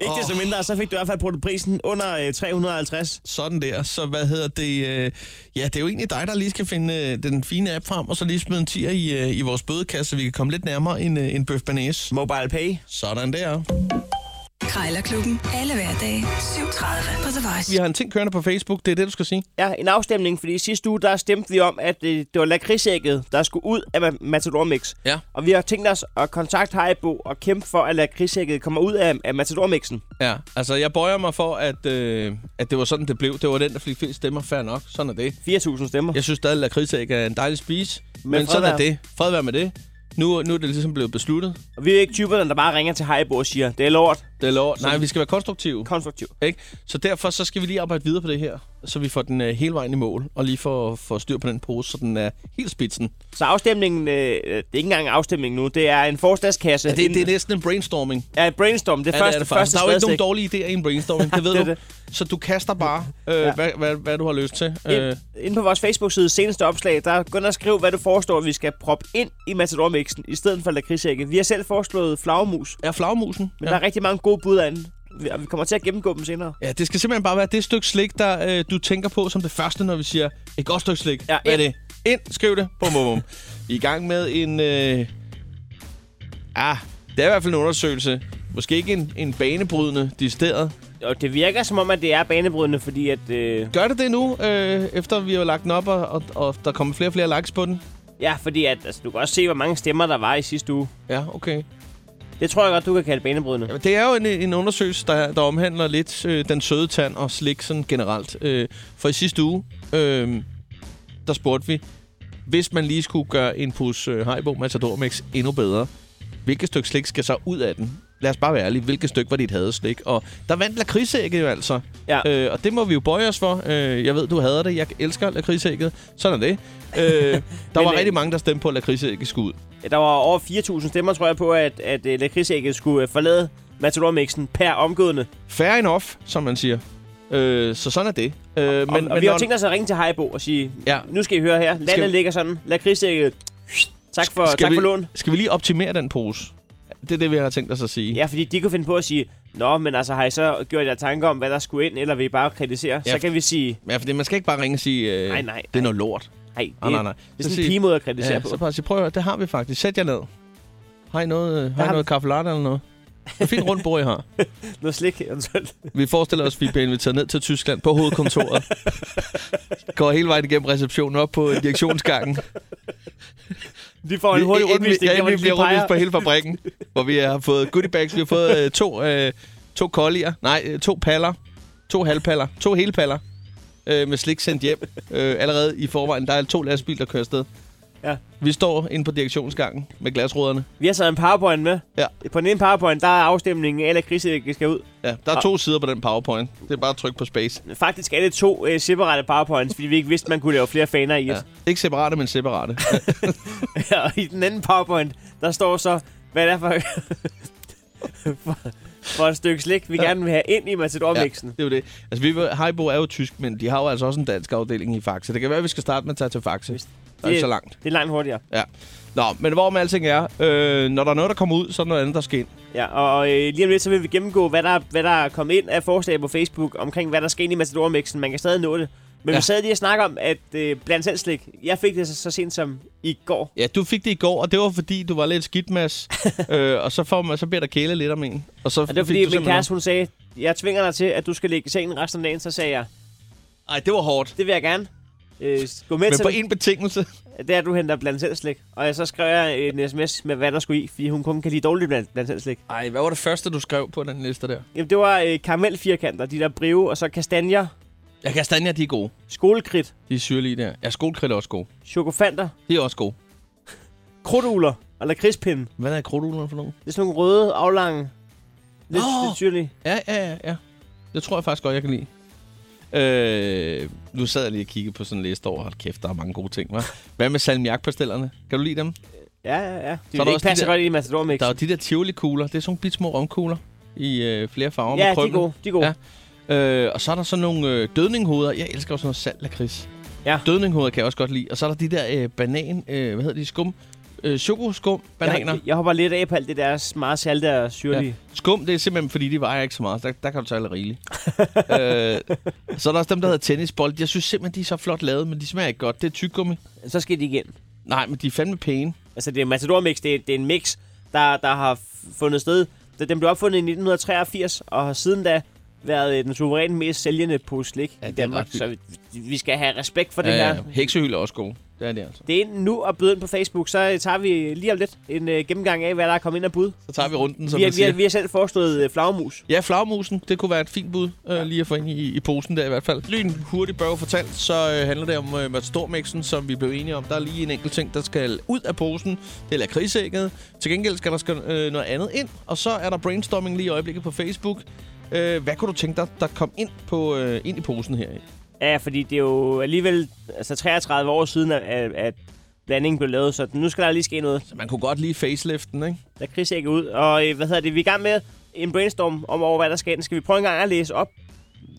Speaker 4: Ikke oh. det som mindre, så fik du i hvert fald brugt prisen under øh, 350.
Speaker 3: Sådan der. Så hvad hedder det? øh, Ja, det er jo egentlig dig, der lige skal finde øh, den fine app frem, og så lige smide en tier i, øh, i vores bødekasse, så vi kan komme lidt nærmere en, øh, en bøf banæs.
Speaker 4: Mobile Pay.
Speaker 3: Sådan der.
Speaker 2: Krejlerklubben. Alle hverdage. 7.30 på The Voice.
Speaker 3: Vi har en ting kørende på Facebook. Det er det, du skal sige.
Speaker 4: Ja, en afstemning, fordi sidste uge, der stemte vi om, at øh, det var lakridsægget, der skulle ud af Ma- Matador Mix.
Speaker 3: Ja.
Speaker 4: Og vi har tænkt os at kontakte Haribo og kæmpe for, at lakridsægget kommer ud af, af Matador Mixen.
Speaker 3: Ja, altså jeg bøjer mig for, at, øh, at det var sådan, det blev. Det var den, der fik flest stemmer. Fair nok. Sådan er det.
Speaker 4: 4.000 stemmer.
Speaker 3: Jeg synes stadig, at lakridsæg er en dejlig spise. Men,
Speaker 4: Men
Speaker 3: men
Speaker 4: fred
Speaker 3: sådan er
Speaker 4: være.
Speaker 3: det. Fred være med det. Nu, nu er det ligesom blevet besluttet.
Speaker 4: Og vi er ikke typerne, der bare ringer til Haribo og siger, det er lort,
Speaker 3: Det er lov. Nej, vi skal være konstruktive.
Speaker 4: konstruktivt.
Speaker 3: Ikke? Så derfor så skal vi lige arbejde videre på det her, så vi får den øh, hele vejen i mål, og lige får, får styr på den pose, så den er helt spidsen.
Speaker 4: Så afstemningen, øh, det er ikke engang en afstemning nu, det er en forslagskasse.
Speaker 3: Ja, det,
Speaker 4: en,
Speaker 3: det er næsten en brainstorming.
Speaker 4: Ja, et brainstorm. Det er
Speaker 3: Ja,
Speaker 4: første,
Speaker 3: det er det faktisk.
Speaker 4: første
Speaker 3: Der er jo ikke nogen
Speaker 4: spadestik.
Speaker 3: dårlige idéer i en brainstorming, det ved
Speaker 4: Det er
Speaker 3: du. Så du kaster bare, øh, ja. hvad, hvad, hvad du har lyst til. Øh,
Speaker 4: Ind, inde på vores Facebook-side seneste opslag, der gå ind og skriv, hvad du foreslår, vi skal proppe ind i Matador-mixen, i stedet for lakridsække. Vi har selv foreslået flagmus,
Speaker 3: er flagmusen?
Speaker 4: men ja. der er rigtig mange gode bud andet. Og vi kommer til at gennemgå dem senere.
Speaker 3: Ja, det skal simpelthen bare være det stykke slik, der øh, du tænker på som det første, når vi siger, et godt stykke slik.
Speaker 4: Ja,
Speaker 3: Hvad er
Speaker 4: ind.
Speaker 3: det? Ind, skriv det. Bum, bum, bum. Vi er i gang med en... Øh... Ah, det er i hvert fald en undersøgelse. Måske ikke en, en banebrydende decideret.
Speaker 4: Og det virker som om, at det er banebrydende, fordi at... Øh,
Speaker 3: Gør det det nu, øh, efter vi har lagt den op, og, og, og der kommer flere og flere likes på den?
Speaker 4: ja, fordi at, altså, du kan også se, hvor mange stemmer der var i sidste uge.
Speaker 3: Ja, okay.
Speaker 4: Det tror jeg godt, du kan kalde banebrydende.
Speaker 3: Jamen, Det er jo en, en undersøgelse, der, der omhandler lidt øh, den søde tand og slik sådan generelt. Øh, for i sidste uge, øh, der spurgte vi, hvis man lige skulle gøre en pus øh, Haribo Matador Mix endnu bedre, hvilket stykke slik skal så ud af den? Lad os bare være ærlige. Hvilket stykke var dit havde slik? Og der vandt lakridsækket jo altså.
Speaker 4: Ja.
Speaker 3: Øh, og det må vi jo bøje os for. Øh, jeg ved, du hader det. Jeg elsker lakridsækket. Sådan er det. Øh, der var
Speaker 4: øh,
Speaker 3: rigtig mange, der stemte på, at lakridsækket skulle ud.
Speaker 4: Ja, Der var over 4.000 stemmer, tror jeg, på, at, at øh, lakridsækket skulle øh, forlade Matador-mixen per omgående.
Speaker 3: Fair enough, som man siger. Øh, så sådan er det. Øh,
Speaker 4: Men, og, og vi har
Speaker 3: når-
Speaker 4: jo tænkt os at ringe til Haribo og sige,
Speaker 3: Ja.
Speaker 4: ja. nu skal I høre her, landet
Speaker 3: Skal vi-
Speaker 4: skal... ligger sådan, lakridsækket, tak for,
Speaker 3: skal
Speaker 4: tak
Speaker 3: vi, Mm.
Speaker 4: for lån.
Speaker 3: Skal vi lige optimere den pose? Det er det, vi har tænkt os at sige.
Speaker 4: Ja, fordi de kunne finde på at sige, nå, men altså har I så gjort jer tanker om, hvad der skulle ind, eller vil I bare kritisere?
Speaker 3: Ja.
Speaker 4: Så kan vi sige,
Speaker 3: ja fordi man skal ikke bare ringe og sige, øh,
Speaker 4: Nej, nej,
Speaker 3: det er noget lort. Ah,
Speaker 4: nej, det,
Speaker 3: Nej, nej, nej.
Speaker 4: det
Speaker 3: Så
Speaker 4: er sådan
Speaker 3: sig-
Speaker 4: en pigemåde at kritisere
Speaker 3: Ja,
Speaker 4: ja, på.
Speaker 3: så bare sige, prøv at høre, det har vi faktisk. Sæt jer ned. Har I noget, øh, har I
Speaker 4: har
Speaker 3: noget kaffe latte eller noget? Det er fint rundt bord, I har.
Speaker 4: Noget slik, eventuelt.
Speaker 3: Vi forestiller os, at vi bliver inviteret ned til Tyskland på hovedkontoret. Går hele vejen igennem receptionen op på øh, direktionsgangen.
Speaker 4: De får en
Speaker 3: Vi-
Speaker 4: hurtig
Speaker 3: inden vi-
Speaker 4: rundvisning,
Speaker 3: Ja, inden
Speaker 4: hvor
Speaker 3: vi
Speaker 4: de
Speaker 3: bliver
Speaker 4: lige peger.
Speaker 3: rundvist på hele fabrikken, hvor vi har fået goodiebags. Vi har fået øh, to, øh, to kollier. Nej, øh, to paller. To halvpaller. To hele paller. Øh, med slik sendt hjem. Øh, allerede i forvejen. Der er to lastbiler, der kører afsted.
Speaker 4: Ja.
Speaker 3: Vi står inde på direktionsgangen med glasruderne.
Speaker 4: Vi har så en powerpoint med.
Speaker 3: Ja.
Speaker 4: På den ene powerpoint, der er afstemningen, eller krigsækket skal ud.
Speaker 3: Ja, der er to sider på den powerpoint. Det er bare at trykke på space.
Speaker 4: Faktisk er det to øh, separate powerpoints, fordi vi ikke vidste, man kunne lave flere faner i
Speaker 3: Ja.
Speaker 4: os.
Speaker 3: Ikke separate, men separate.
Speaker 4: Ja. og i den anden powerpoint, der står så, hvad det er for, for, for et stykke slik, vi ja. gerne vil have ind i Matador-mixen.
Speaker 3: det er jo det. Altså, vi, ved- Haribo er jo tysk, men de har jo altså også en dansk afdeling i Faxe. Det kan være, at vi skal starte med at tage til Faxe. Det er ikke så langt.
Speaker 4: Det er langt hurtigere.
Speaker 3: Ja. Nå, men hvorom alting er, øh, når der er noget, der kommer ud, så er der noget andet, der skal ind.
Speaker 4: Ja, og øh, lige om lidt, så vil vi gennemgå, hvad der, hvad der er kommet ind af forslag på Facebook omkring, hvad der skal ind i Matador-mixen. Man kan stadig nå det.
Speaker 3: Ja.
Speaker 4: Men ja. vi sad lige og snakkede om, at øh, blandt selv slik, jeg fik det så, så sent som i går.
Speaker 3: Ja, du fik det i går, og det var fordi, du var lidt skidt, Mads. øh, og så, får man, så bliver der kæle lidt om en. Og så
Speaker 4: Og det var
Speaker 3: fik
Speaker 4: fordi,
Speaker 3: du
Speaker 4: min
Speaker 3: simpelthen-
Speaker 4: kæreste, hun sagde, jeg tvinger dig til, at du skal ligge i sengen resten af dagen. Så sagde jeg,
Speaker 3: Ej, det var hårdt.
Speaker 4: det vil jeg gerne. Øh, gå med
Speaker 3: Men
Speaker 4: til
Speaker 3: på
Speaker 4: det.
Speaker 3: en betingelse.
Speaker 4: Det er, at du henter blandt selv slik. Og så skrev jeg en sms med, hvad der skulle i, fordi hun kun kan lide dårligt blandt, blandt selv slik.
Speaker 3: Ej, hvad var det første, du skrev på den liste der?
Speaker 4: Jamen, det var øh, karamelfirkanter, de der breve, og så kastanjer,
Speaker 3: Ja, kastanjer, de er gode.
Speaker 4: skolekridt,
Speaker 3: De er syrlige der. Ja, skolekridt er også gode.
Speaker 4: chokofanter,
Speaker 3: De er også gode.
Speaker 4: krudtugler og lakridspinde.
Speaker 3: Hvad er krudtulerne for nogen?
Speaker 4: Det er sådan nogle røde, aflange, lidt,
Speaker 3: Nå!
Speaker 4: oh. lidt syrlige.
Speaker 3: Ja, ja, ja, ja. Det tror jeg faktisk godt, jeg kan lide. Øh, nu sad jeg lige og kiggede på sådan en liste over, hold kæft, der er mange gode ting, hva'? Hvad med salmiakpastillerne? Kan du lide dem?
Speaker 4: Ja, ja, ja.
Speaker 3: er der
Speaker 4: De vil
Speaker 3: også de
Speaker 4: ikke passe
Speaker 3: der-
Speaker 4: godt ind i
Speaker 3: Der er jo
Speaker 4: Matador-mixen.
Speaker 3: de der tivoli-kugler. Det er sådan nogle bitte små romkugler i øh, flere farver
Speaker 4: Ja,
Speaker 3: med
Speaker 4: de er
Speaker 3: krømmel.
Speaker 4: gode. De er gode.
Speaker 3: Ja.
Speaker 4: Ja.
Speaker 3: Øh, og så er der sådan nogle øh, dødninghoveder. Jeg elsker jo sådan noget salt lakrids.
Speaker 4: Ja.
Speaker 3: Dødninghoveder kan jeg også godt lide. Og så er der de der øh, banan... Øh, hvad hedder de? Skum? Øh, chokoskum? Bananer?
Speaker 4: Jeg, jeg hopper lidt af på alt det der meget salte og syrlige. Ja.
Speaker 3: Skum, det er simpelthen, fordi de vejer ikke så meget. Der, der kan du tage lidt rigeligt. øh, så er der også dem, der hedder tennisbold. Jeg synes simpelthen, de er så flot lavet, men de smager ikke godt. Det er tyggegummi.
Speaker 4: Så skal de igen.
Speaker 3: Nej, men de er fandme pæne.
Speaker 4: Altså, det er Matador Mix, det er, det er en mix, der, der har f- fundet sted. Den den blev opfundet i 1983, og har siden da været øh, den suverænt mest sælgende på slik
Speaker 3: Ja,
Speaker 4: ja, i
Speaker 3: det er
Speaker 4: Danmark.
Speaker 3: ret vildt.
Speaker 4: Så vi, vi skal have respekt for det her.
Speaker 3: Heksehyl Øh, er også gode. Det er det altså.
Speaker 4: Det er enten nu og byde ind på Facebook, så øh, tager vi lige om lidt en øh, gennemgang af, hvad der er kommet ind af bud.
Speaker 3: Så tager vi runden, som
Speaker 4: Vi
Speaker 3: man
Speaker 4: har, vi, har,
Speaker 3: siger.
Speaker 4: vi har selv foreslået øh, flagmus.
Speaker 3: Ja, flagmusen, det kunne være et fint bud øh, lige at få ind i, i posen der i hvert fald. Lyn hurtigt bør fortalt, så øh, handler det om øh, Madstormixen, som vi blev enige om. Der er lige en enkelt ting, der skal ud af posen. Det er lakridsægget. Til gengæld skal der skal, øh, noget andet ind, og så er der brainstorming lige i øjeblikket på Facebook. Øh, hvad kunne du tænke dig, der kom ind, på, øh, ind i posen her?
Speaker 4: Ja, fordi det er jo alligevel altså 33 år siden, at, at, at blandingen blev lavet, så nu skal der lige ske noget.
Speaker 3: Så man kunne godt lide faceliften, ikke?
Speaker 4: Der krigs ikke ud. Og øh, hvad hedder det? Vi er i gang med en brainstorm om over, hvad der skal ind. Skal vi prøve en gang at læse op,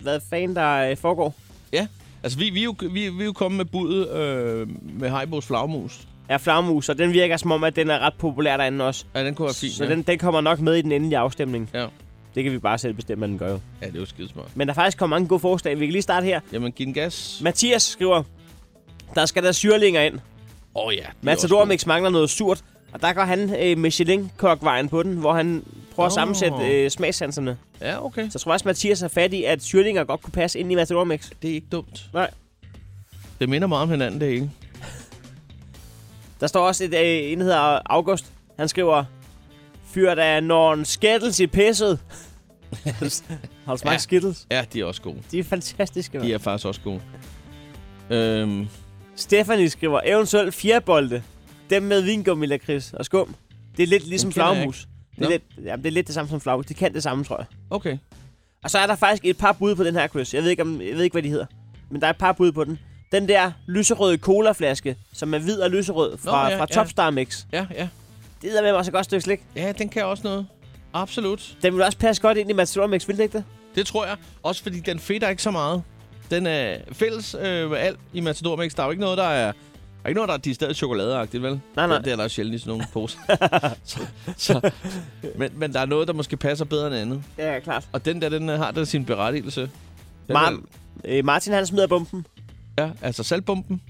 Speaker 4: hvad fanden der øh, foregår?
Speaker 3: Ja. Altså, vi, vi, er jo, vi, vi er jo kommet med budet øh, med Heibos flagmus.
Speaker 4: Er flagmus, og den virker som om, at den er ret populær derinde også.
Speaker 3: Ja, den kunne være fin,
Speaker 4: Så
Speaker 3: ja.
Speaker 4: den, den kommer nok med i den endelige afstemning.
Speaker 3: Ja.
Speaker 4: Det kan vi bare selv bestemme, hvad den gør jo.
Speaker 3: ja, det er jo skidesmart.
Speaker 4: Men der er faktisk kommet mange gode forslag. Vi kan lige starte her.
Speaker 3: Jamen, giv den gas.
Speaker 4: Mathias skriver, der skal der syrlinger ind.
Speaker 3: Åh oh, ja. det er også
Speaker 4: Matador
Speaker 3: godt.
Speaker 4: Mix mangler noget surt, og der går han øh, Michelin-kokvejen på den, hvor han prøver at
Speaker 3: Nå.
Speaker 4: sammensætte øh, smagssanserne.
Speaker 3: Ja, okay.
Speaker 4: Så jeg tror også, Mathias har fat i, at syrlinger godt kunne passe ind i Matador Mix.
Speaker 3: Det er ikke dumt.
Speaker 4: Nej.
Speaker 3: Det minder meget om hinanden, det hele.
Speaker 4: Der står også et, øh, en der hedder August. Han skriver, fyr der når en skættels i pisset. har du smagt
Speaker 3: Ja.
Speaker 4: ja. skittles?
Speaker 3: Ja, de er også gode.
Speaker 4: De er fantastiske, man.
Speaker 3: De
Speaker 4: Ja.
Speaker 3: er faktisk også gode. Øhm,
Speaker 4: Stephanie skriver, eventuelt fjerbolde. Dem med vingummi, lakrids og skum. Det er lidt ligesom
Speaker 3: kender jeg
Speaker 4: flagmus. Det er,
Speaker 3: Nå.
Speaker 4: lidt, jamen, det er lidt det samme som flagmus. Det kan det samme, tror jeg.
Speaker 3: okay.
Speaker 4: Og så er der faktisk et par bud på den her, Chris. Jeg ved ikke, om, jeg ved ikke hvad de hedder. Men der er et par bud på den. Den der lyserøde colaflaske, som er hvid og lyserød fra,
Speaker 3: Nå, ja,
Speaker 4: fra
Speaker 3: ja.
Speaker 4: Topstar Mix.
Speaker 3: Ja, ja.
Speaker 4: Det er med også et godt stykke slik.
Speaker 3: Ja, den kan også noget. Absolut.
Speaker 4: Den vil også passe godt ind i Matador Mix, vil det ikke det?
Speaker 3: Det tror jeg. Også fordi den fedter ikke så meget. Den er fælles øh, med alt i Matador Mix. Der er jo ikke noget, der er... Der er ikke noget, der er decideret chokoladeagtigt, vel?
Speaker 4: Nej, nej.
Speaker 3: Det, det er der jo sjældent i sådan nogle poser. så, så, men, men der er noget, der måske passer bedre end andet.
Speaker 4: Ja, klart.
Speaker 3: Og den der, den øh, har der sin berettigelse. Den
Speaker 4: Mar-
Speaker 3: er-
Speaker 4: øh, Martin, han smider bomben.
Speaker 3: Ja, altså saltbomben.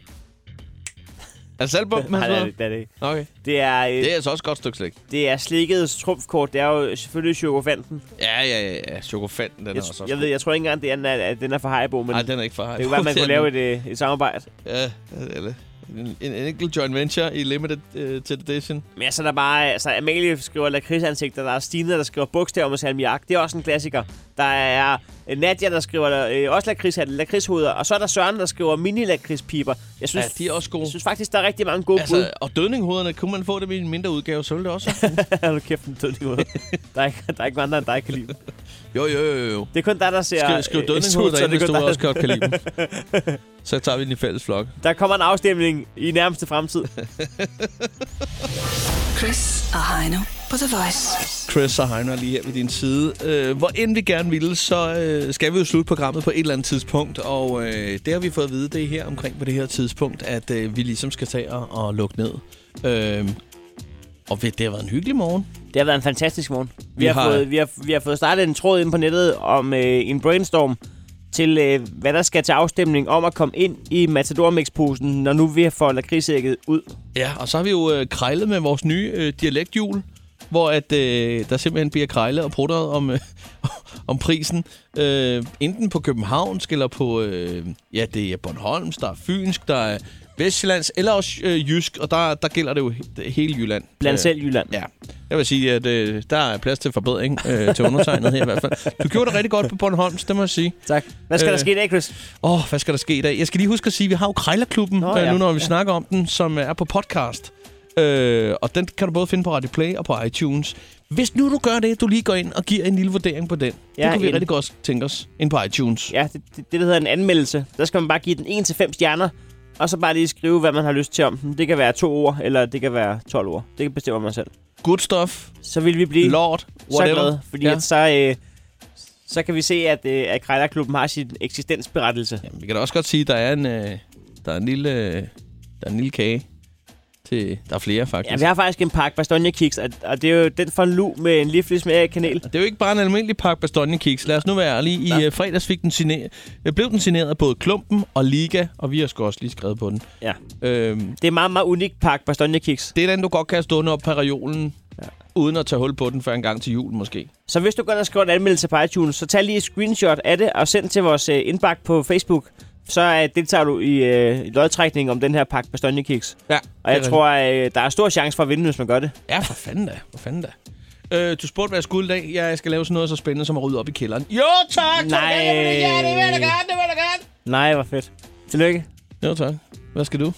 Speaker 3: Er det saltbomben, han
Speaker 4: Nej, det er
Speaker 3: hedder?
Speaker 4: det, det er det ikke.
Speaker 3: Okay.
Speaker 4: Det er, øh,
Speaker 3: Det
Speaker 4: det.
Speaker 3: er altså også et godt stykke slik.
Speaker 4: det er slikkets trumfkort. Det er jo selvfølgelig chokofanten.
Speaker 3: Ja, ja, ja. ja. Chokofanten, den
Speaker 4: Jeg,
Speaker 3: er altså også
Speaker 4: jeg, ved, jeg tror ikke engang, det er, den er- at den er fra Haribo, men
Speaker 3: Nej,
Speaker 4: det
Speaker 3: den er ikke for hej.
Speaker 4: kunne være, man kunne lave et, øh, et samarbejde.
Speaker 3: Ja, eller en, en enkelt joint venture i limited uh, edition.
Speaker 4: Men altså, der er bare, altså, Amalie skriver lakridsansigter, der er Stine, der skriver bogstaver med salmiak. Det er også en klassiker. Der er øh, Nadia, der skriver øh, også lakridshatte, lakridshoveder. Og så er der Søren, der skriver mini-lakridspiber. Jeg synes,
Speaker 3: Ja, de er også gode.
Speaker 4: Jeg synes faktisk, der er rigtig mange gode altså, bud.
Speaker 3: Altså, og dødninghovederne, kunne man få dem i en mindre udgave, så ville det også.
Speaker 4: Hold nu kæft, en dødning ud. der, er ikke, der er ikke mange, der dig kan lide dem.
Speaker 3: jo, jo, jo, jo.
Speaker 4: Det er kun der, der ser...
Speaker 3: Skriv, skriv
Speaker 4: øh,
Speaker 3: dødninghovedet
Speaker 4: sutter,
Speaker 3: derinde,
Speaker 4: det er
Speaker 3: hvis
Speaker 4: kun
Speaker 3: du
Speaker 4: dig,
Speaker 3: også godt kan lide dem. Så tager vi den i fælles flok.
Speaker 4: Der kommer en afstemning i nærmeste fremtid.
Speaker 2: Chris og Heino på The Voice.
Speaker 3: Chris og Heino er lige her ved din side. Øh, hvor end vi gerne ville, så øh, skal vi jo slutte programmet på et eller andet tidspunkt, og øh, det har vi fået at vide, det er her omkring på det her tidspunkt, at øh, vi ligesom skal tage og, og lukke ned. Øh, og ved- det har været en hyggelig morgen.
Speaker 4: Det har været en fantastisk morgen. Vi,
Speaker 3: Vi
Speaker 4: har,
Speaker 3: har-
Speaker 4: Fået, vi, har, vi har fået startet en tråd ind på nettet om øh, en brainstorm til, øh, hvad der skal til afstemning om at komme ind i Matador Mix-posen, når nu vi får lakridsækket ud.
Speaker 3: Ja, og så har vi jo øh, krejlet med vores nye øh, dialekthjul, hvor at, øh, der simpelthen bliver krejlet og pruttet om, øh, om prisen, øh, enten på københavnsk eller på, øh, ja, det er Bornholms, der er Fynsk, der er Vestjyllands, eller også øh, Jysk, og der, der gælder det jo he- hele Jylland.
Speaker 4: Blandt
Speaker 3: Øh,
Speaker 4: selv Jylland.
Speaker 3: Ja, jeg vil sige, at øh, der er plads til forbedring øh, til undertegnet her i hvert fald. Du gjorde det rigtig godt på Bornholms, det må jeg sige.
Speaker 4: Tak. Hvad skal øh, der
Speaker 3: Øh,
Speaker 4: ske i dag, Chris?
Speaker 3: Åh, oh, hvad skal der ske i dag? Jeg skal lige huske at sige, at vi har jo Krejlerklubben, Nå,
Speaker 4: Nå,
Speaker 3: ja.
Speaker 4: ja.
Speaker 3: øh, nu når vi ja.
Speaker 4: Ja.
Speaker 3: snakker om den, som er på podcast. Øh, og den kan du både finde på Radio Play og på iTunes. Hvis nu du gør det, du lige går ind og giver en lille vurdering på den. Ja, det
Speaker 4: Ja,
Speaker 3: kunne vi
Speaker 4: en-
Speaker 3: rigtig godt tænke os ind på iTunes.
Speaker 4: Ja, det, det, det der hedder en anmeldelse. Der skal man bare give den 1-5 stjerner, og så bare lige skrive, hvad man har lyst til om den. Det kan være to ord, eller det kan være 12 ord. Det bestemmer man selv.
Speaker 3: Good stuff,
Speaker 4: Så vil vi blive
Speaker 3: lord,
Speaker 4: så
Speaker 3: whatever.
Speaker 4: glade, fordi
Speaker 3: Ja.
Speaker 4: ja. at så, øh, så kan vi se, at, øh, at Krejlerklubben har sin eksistensberettelse.
Speaker 3: Jamen, vi kan da også godt sige, at der er en, øh, der er en, lille, øh, der er en lille kage. Til, der er flere, faktisk.
Speaker 4: Ja, vi har faktisk en pakke Bastogne Kiks, og, og det er jo den fra Lu med en liflis med kanel.
Speaker 3: Og Det er jo ikke bare en almindelig pakke Bastogne Kiks. Lad os nu være ærlige. I øh, fredags fik den signer- øh, blev den signeret af både Klumpen og Liga, og vi har sgu også lige skrevet på den.
Speaker 4: Ja.
Speaker 3: Øhm,
Speaker 4: Det er en meget, meget unik pakke Bastogne Kiks.
Speaker 3: det er den, du godt kan stå op på reolen, ja. uden at tage hul på den før en gang til jul måske.
Speaker 4: Så hvis du går ind og skriver en anmeldelse på iTunes, så tag lige et screenshot af det og send til vores øh, indbakke på Facebook. så øh, deltager du i øh, lodtrækning om den her pakke bastonjekiks.
Speaker 3: Ja,
Speaker 4: Og jeg tror, øh, der er stor chance for at vinde, hvis man gør det.
Speaker 3: Ja, for fanden da. For fanden da. Øh, du spurgte, hvad jeg skulle i dag. Jeg skal lave sådan noget så spændende som at rydde op i kælderen. Jo, tak! så
Speaker 4: Nej.
Speaker 3: gerne, jeg vil det. Ja, det vil jeg da gerne, det vil jeg da gerne.
Speaker 4: Nej, hvor fedt. Tillykke.
Speaker 3: Jo, tak. Hvad skal du?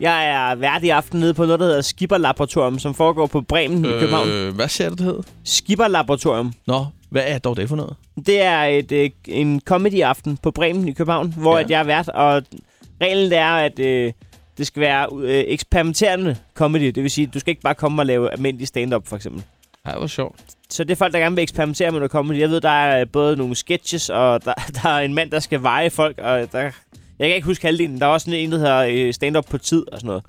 Speaker 4: Jeg er vært i aften nede på noget, der hedder Skipper Laboratorium, som foregår på Bremen øh. i København.
Speaker 3: hvad ser du, det hed?
Speaker 4: Skipper Laboratorium.
Speaker 3: Nå, hvad er dog det for noget?
Speaker 4: Det er et, øh, en comedy-aften på Bremen i København, hvor
Speaker 3: Ja.
Speaker 4: ja. jeg er vært, og reglen det er, at øh, det skal være øh, eksperimenterende comedy. Det vil sige, du skal ikke bare komme og lave almindelig stand-up, for eksempel.
Speaker 3: Ej, hvor sjovt.
Speaker 4: Så det er folk, der gerne vil eksperimentere med noget comedy. Jeg ved, der er øh, både nogle sketches, og der, der er en mand, der skal veje folk, og der, jeg kan ikke huske halvdelen. Der er også sådan en, der hedder øh, stand-up på tid og sådan noget.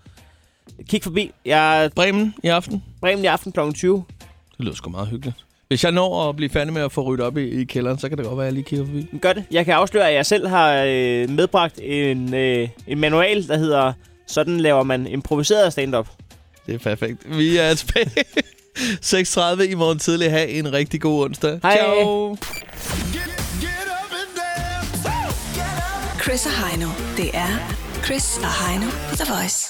Speaker 4: Kig forbi. Jeg er
Speaker 3: Bremen i aften.
Speaker 4: Bremen i aften kl. 20.
Speaker 3: Det lyder sgu meget hyggeligt. Hvis jeg når at blive færdig med at få ryddet op i, i kælderen, så kan det godt være, at jeg lige kigger forbi.
Speaker 4: Mm. Gør det. Jeg kan afsløre, at jeg selv har øh, medbragt en, øh, en manual, der hedder Sådan laver man improviseret stand-up.
Speaker 3: Det er perfekt. Vi er tilbage 6.30 i morgen tidlig. Ha' en rigtig god onsdag.
Speaker 4: Hej.
Speaker 3: Ciao.
Speaker 2: Chris og Heino. Det er Chris og Heino på The Voice.